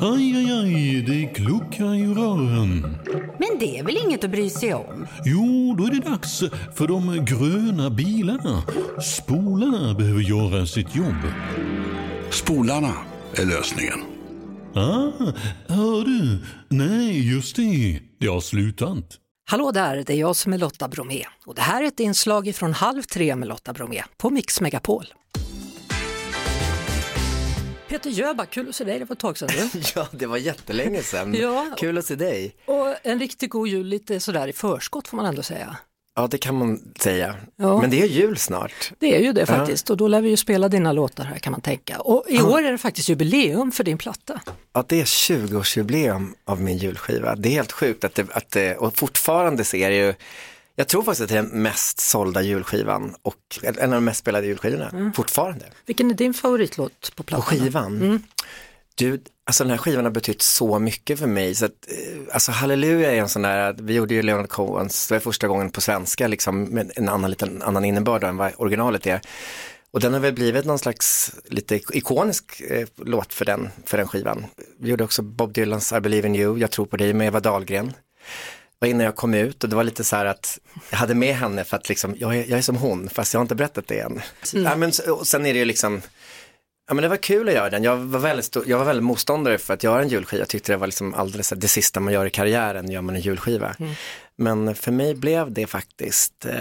Aj, aj, aj, det kluckar i rören. Men det är väl inget att bry sig om? Jo, då är det dags för de gröna bilarna. Spolarna behöver göra sitt jobb. Spolarna är lösningen. Ah, hör du? Nej, just det. Det har slutat. Hallå där, det är jag som är Lotta Bromé och det här är ett inslag från Halv tre med Lotta Bromé på Mix Megapol. Peter Jöback, kul att se dig, det var ett tag sedan du. Ja, det var jättelänge sedan. Ja. Kul att se dig. Och en riktigt god jul lite sådär i förskott får man ändå säga. Ja, det kan man säga. Ja. Men det är jul snart. Det är ju det faktiskt och då lär vi ju spela dina låtar här kan man tänka. Och i år är det faktiskt jubileum för din platta. Ja, det är 20-årsjubileum av min julskiva. Det är helt sjukt att det, att det, och fortfarande så är det ju, jag tror faktiskt att det är den mest sålda julskivan och eller en av de mest spelade julskivorna, Mm. fortfarande. Vilken är din favoritlåt på På plattan? skivan. Du, alltså den här skivan har betytt så mycket för mig. Så att, eh, alltså Halleluja är en sån där, vi gjorde ju Leonard Cohens, det var första gången på svenska liksom, med en annan, liten, annan innebörd då än vad originalet är. Och den har väl blivit någon slags lite ikonisk eh, låt för den, för den skivan. Vi gjorde också Bob Dylans I believe in you, Jag tror på dig med Eva Dahlgren. Det var innan jag kom ut och det var lite så här att jag hade med henne för att liksom, jag är, jag är som hon, fast jag har inte berättat det än. Ja, men, så- och sen är det ju liksom, Ja men det var kul att göra den. Jag var väldigt, stor, jag var väldigt motståndare för att göra en julskiva. Jag tyckte det var liksom alldeles så här, det sista man gör i karriären, gör man en julskiva. Mm. Men för mig blev det faktiskt eh,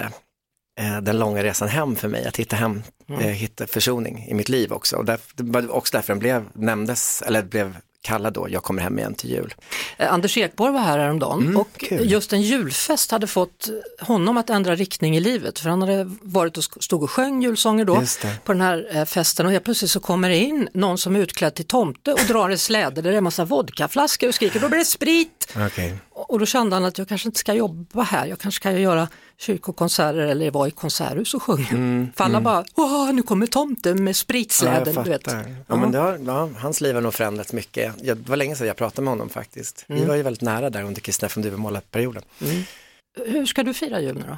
eh, den långa resan hem för mig, att hitta hem, Mm. eh, hitta försoning i mitt liv också. Och där, det var också därför den blev, nämndes, eller blev kallad då, jag kommer hem igen till jul. Eh, Anders Ekborg var här häromdagen och Mm, kul. just en julfest hade fått honom att ändra riktning i livet för han hade varit och sk- stod och sjöng julsånger då Just det. på den här eh, festen och helt plötsligt så kommer det in någon som är utklädd till tomte och drar en släde där det är en massa vodkaflaskor och skriker då blir det sprit Okay. och och då kände han att jag kanske inte ska jobba här, jag kanske kan göra kyrkokonserter eller vara i konserthus och sjunga. För alla bara, Åh, nu kommer tomten med Mm, Ja, spritsläden. jag du vet. fattar. Ja, men det har, ja, hans liv har nog förändrats mycket. Jag, det var länge sedan jag pratade med honom faktiskt. Mm. Vi var ju väldigt nära där under Kristina från Duvemåla-perioden. Hur ska du fira jul nu då?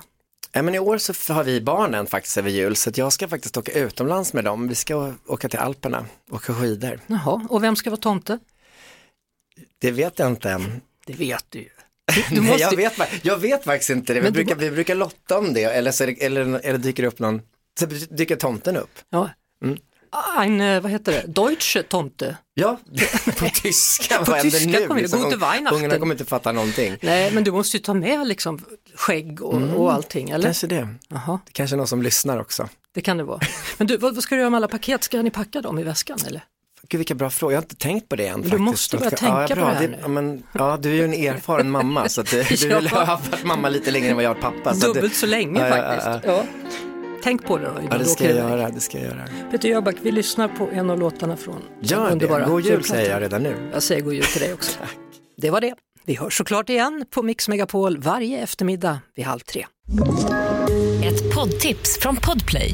Ja, men I år så f- har vi barnen faktiskt över jul så att jag ska faktiskt åka utomlands med dem. Vi ska å- åka till Alperna, åka skidor. Jaha, och vem ska vara tomte? Det vet jag inte än. Det vet du ju. Nej, måste jag, ju- vet, fa- jag vet faktiskt inte det. Vi Men du brukar, vi brukar lotta om det eller, så är det, eller, eller dyker det upp någon, så dyker tomten upp. Ja. Mm. Ein, eh, vad heter det, Deutsche Tomte. Ja, på tyska, På vad händer tyska nu? kommer det, Liksom, Gute Weihnachten. Ungarna kommer inte fatta någonting. Nej, men du måste ju ta med liksom skägg och, och allting, eller? Mm. Kanske det. Jaha, Det kanske är någon som lyssnar också. det kan det vara. Men du, vad, vad ska du göra med alla paket? Ska ni packa dem i väskan eller? Gud vilka bra frågor, jag har inte tänkt på det än faktiskt. måste börja ja, tänka bra. på det här Det- nu. ja, men, ja, du är ju en erfaren mamma så att du, du vill ha varit mamma lite längre än vad jag har varit pappa. Så att du- Dubbelt så länge Ja, ja, ja, faktiskt. Ja, Tänk på det då. innan Ja, det du ska åker jag iväg. göra, det ska jag göra. Peter Jöback, vi lyssnar på en av låtarna från den Gör det, underbara god jul julplattan. säger jag redan nu. Jag säger god jul till dig också. Det var det. Vi hörs såklart igen på Mix Megapol varje eftermiddag vid halv tre. Ett poddtips från Podplay.